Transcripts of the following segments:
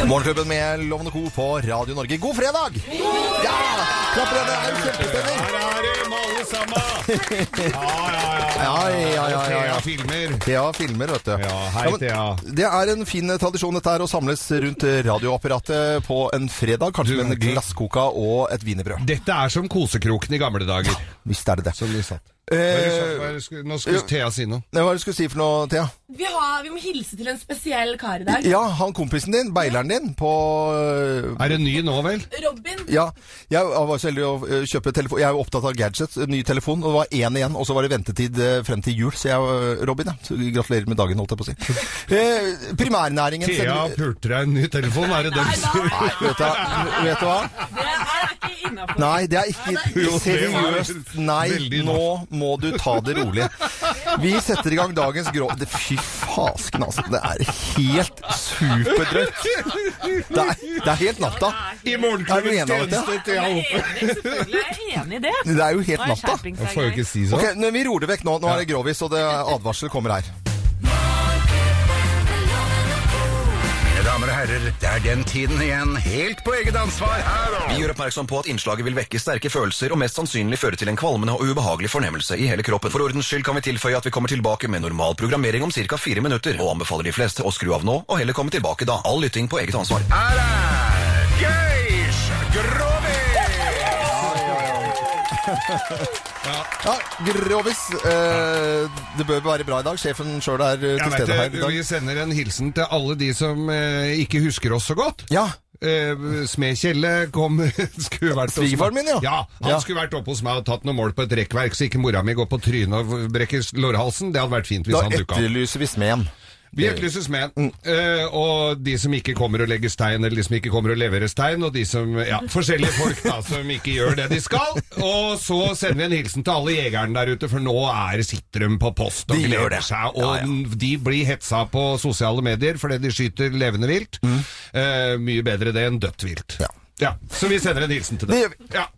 Morgenklubben med Lovende Co. på Radio Norge. God fredag! Ja! Klapp for det, det er jo kjempestemning! Her er de med alle sammen! Ja, ja, ja. Ja, ja, ja, ja, ja. Thea filmer. Thea filmer, vet du. Ja, hei, men Thea. Det er en fin tradisjon dette her, å samles rundt radioapparatet på en fredag. Kanskje Du med en vet det. glasskoka og et wienerbrød. Dette er som kosekroken i gamle dager. Hvis det er det. Som de satt. Hva er det som- hva Eh, er det sku- Nå skulle Thea si noe. hva er det du skulle si for noe, Thea? Vi, har, vi må hilse til en spesiell kar i dag. Ja, han kompisen din, beileren din, på Er det ny nå, vel? Robin. ja, jeg var så heldig å eh, kjøpe telefon Jeg er jo opptatt av gadgets, eh, ny telefon Og det var en igjen, og så var det ventetid eh, frem til jul Så jeg, eh, Robin, ja. så gratulerer med dagen, holdt jeg på å si eh, Primærnæringen Thea sender- pulte deg en ny telefon, er det det du sier? Nei, vet du, hva- vet du hva? Det er ikke innafor. Nei, det er ikke Jo, det var seriøst. Nei, veldig nå må du ta det rolig. Vi setter i gang dagens grå... Det- Fy fasken, altså. Det er helt superdrøyt. Det er, det er helt natta. I Er du morgenklubbens enig om dette? tjeneste, Jeg Thea er Hope. enig, selvfølgelig er jeg enig i det. Det er jo Nå helt er natta. Jeg får jo skjerpingsdeg ikke grei. si sånn. Ok, nå- Vi roer det vekk nå. Nå er det grovis, og det advarsel kommer her. Mine damer og herrer, det er den tiden igjen, helt på eget ansvar her og... Vi gjør oppmerksom på at innslaget vil vekke sterke følelser og mest sannsynlig føre til en kvalmende og ubehagelig fornemmelse i hele kroppen. For ordens skyld kan vi tilføye at vi kommer tilbake med normal programmering om ca. fire minutter, og anbefaler de fleste å skru av nå og heller komme tilbake da. All lytting på eget ansvar. Her er Geis Grovis! Ja, grovis. Eh, det bør være bra i dag. Sjefen sjøl er eh, Jeg til vet stede her det, i dag. Vi sender en hilsen til alle de som eh, ikke husker oss så godt. Ja. Eh, Smed Kjelle kom skulle vært hos meg. Svigefaren min, ja. ja han Ja. skulle vært oppe hos meg og tatt noen mål på et rekkverk, så ikke mora mi går på trynet og brekker lårhalsen. Det hadde vært fint hvis Da han dukka opp. etterlyser vi smeden. Vi etterlyser Smed. Eh, og de som ikke kommer og legger stein, eller de som ikke kommer og leverer stein, og de som Ja, forskjellige folk da som ikke gjør det de skal. Og så sender vi en hilsen til alle jegerne der ute, for nå er, sitter de på post og De gjør gleder det. seg. Og Ja, ja. Mm, De blir hetsa på sosiale medier fordi de skyter levende vilt. Eh, mye bedre det enn dødt vilt. Mm. Ja. Så vi sender en hilsen til Det dem. gjør vi. Ja.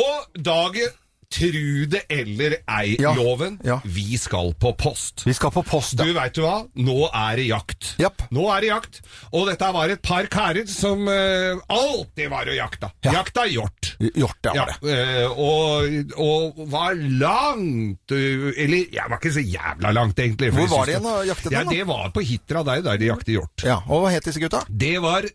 Og dagen tru det eller Ja. ei-loven. Ja. Vi skal på post. Vi skal på post. Du ja. veit du hva, nå er det jakt. Japp. Nå er det jakt. Og dette var et par karer som eh, alltid var og jakta. Jakta hjort. Hjort, ja. Ja, var det. eh, og, og var langt eh, Eller jeg var ikke så jævla langt, egentlig. for Hvor var jeg synes det igjen da, jaktet Ja, den, da? det var på Hitra, der, der de jakter hjort. Ja, Og hva het disse gutta? Det var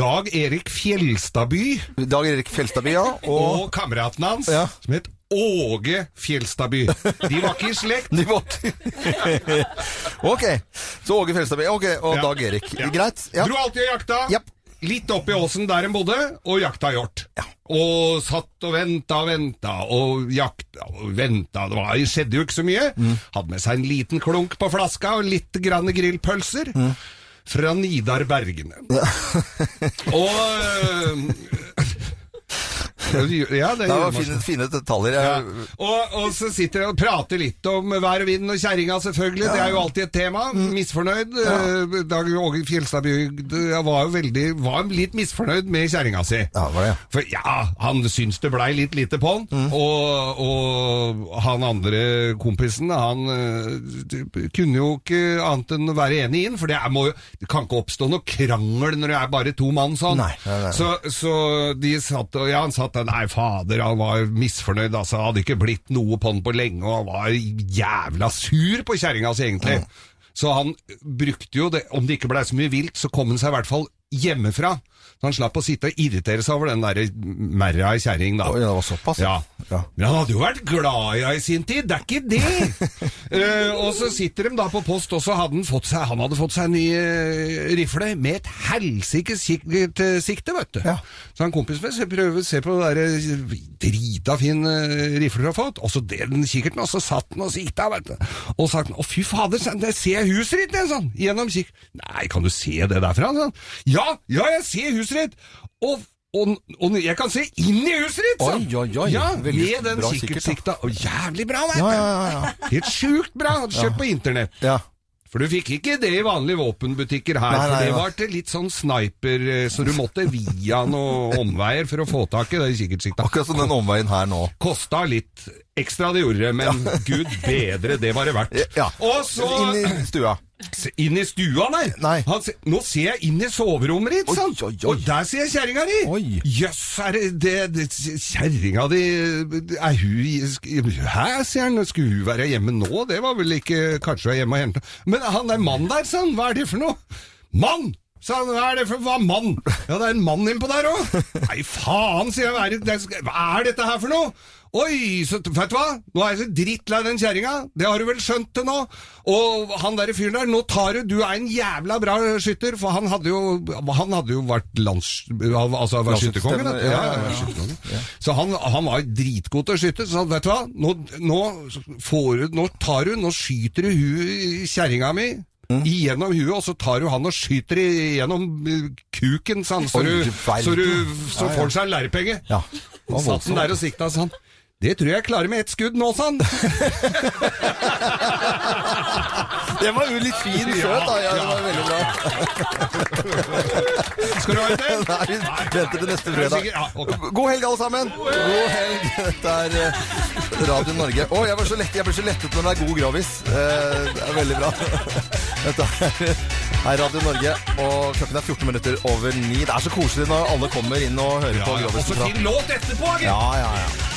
Dag Erik Fjelstadby Dag Erik Fjelstadby, ja. Og og kameraten hans, Ja. som het Åge Fjelstadby. De var ikke i slekt. De var- ok, så Åge Fjelstadby ok, og Ja. Dag Erik. Ja. Greit. Ja. Dro alltid og jakta. Japp. Litt opp i åsen der en bodde, og jakta hjort. Og satt og venta og venta, og jakta og venta. Det var, skjedde jo ikke så mye. Mm. Hadde med seg en liten klunk på flaska og litt grann grillpølser. Mm. Fra Nidar Bergene. og øh, Ja, det Det gjorde var man fine, sånn. fine detaljer. Jeg, Og, og så sitter jeg og prater litt om vær og vind og kjerringa, selvfølgelig. Det er jo alltid et tema. Mm. Misfornøyd. Eh, Dag Åge Fjelstadby eh, var jo veldig Var litt misfornøyd med kjerringa si. ja, Mm. var det. For ja, han syns det blei litt lite på han. Og, og han andre kompisen, han eh, kunne jo ikke annet enn å være enig i den, for det, er, må, jo- det kan ikke oppstå noe krangel når det er bare to mann sånn. Nei, nei, nei. Så, så de satt og Ja, han satt der, nei, fader, han var misfornøyd, altså. Hadde ikke blitt noe på han på lenge, og han var jævla sur på kjerringa si, egentlig. Så han brukte jo det Om det ikke blei så mye vilt, så kom han seg i hvert fall hjemmefra. Så han slapp å sitte og irritere seg over den derre merra i kjerring, da. Oi, det var såpass. Ja. Ja. Men han hadde jo vært glad i henne i sin tid, det er ikke det! Eh, og så sitter de da på post, og så hadde han fått seg, han hadde fått seg en ny eh, rifle med et helsikes sikkert eh, sikte, vet du. Ja. Så han kompisen min ser- prøver å se på den der eh, drita fin eh, rifle du har fått, og så delte den kikkerten, og så satt den og sikta, vet du. Og så sa han, å fy fader, sa han, der ser jeg huset ditt, sånn, gjennom kikk. Nei, kan du se det derfra? Sånn. Ja, ja, jeg ser huset ditt! Og og, og jeg kan se inn i huset ditt! sa han. Oi, oi, oi. Sånn. Ja, Veldig med den bra kikkert, kikkertsikta. Og jævlig bra, veit Ja, du! ja, ja, ja. Helt sjukt bra! Hadde kjøpt på internett. ja. For du fikk ikke det i vanlige våpenbutikker her. Nei, nei, for det nei. var til litt sånn sniper, eh, så du måtte via noen omveier for å få tak i det kikkertsikta. Akkurat som den omveien her nå. Kosta litt ekstra, det gjorde det, men gud bedre, det var det verdt. Ja. Og så Inn i stua. Se Inn i stua der! Nei. Han se, nå ser jeg inn i soverommet ditt, Oi, sant? oi, oi. Og der ser jeg kjerringa di! Oi. Jøss, er det, det, det Kjerringa di Er hun i- Hæ, sier han. Skulle hun være hjemme nå? Det var vel ikke Kanskje hun er hjemme og henter Men han der mannen der, sa han. Hva er det for noe? Mann! Sa han, hva er det for hva mann? Ja, det er en mann innpå der òg! Nei, faen, sier jeg. Hva er, det, det- hva er dette her for noe? Oi, så, vet du hva? Nå er jeg så drittlei den kjerringa. Det har du vel skjønt til nå? Og han derre fyren der, nå tar du Du er en jævla bra skytter, for han hadde jo, han hadde jo vært lands... Altså vært skytterkonge, da. Landslagsstevne, ja, ja, ja. skytterkonge. Så han, han var jo dritgod til å skyte. Så han, vet du hva, nå, nå, får, du- nå tar du Nå skyter du hu- kjerringa mi. Mm. Igjennom huet, og så tar du han og skyter igjennom eh, kuken, sånn, så, Oi, du du, verden. så, du, Ja, så ja. får han seg en lærepenge. Ja. Og satt den der og sikta sånn. Det tror jeg jeg klarer med ett skudd nå, sa han. Den var jo litt fin skjøt, da. Ja, det var veldig bra. Skal du ha en til? Nei, vi venter til neste fredag. Ja, ok. God helg, alle sammen! God helg. Dette er eh, Radio Norge. Å, jeg, var så lett, jeg ble så lettet når det er god grovis. Eh, Det er veldig bra. Dette er, er Radio Norge, og klokken er 14 minutter over 9. Det er så koselig når alle kommer inn og hører Ja, på ja. Og så grovisen. fra- fin låt etterpå, gitt! Ja, ja, ja.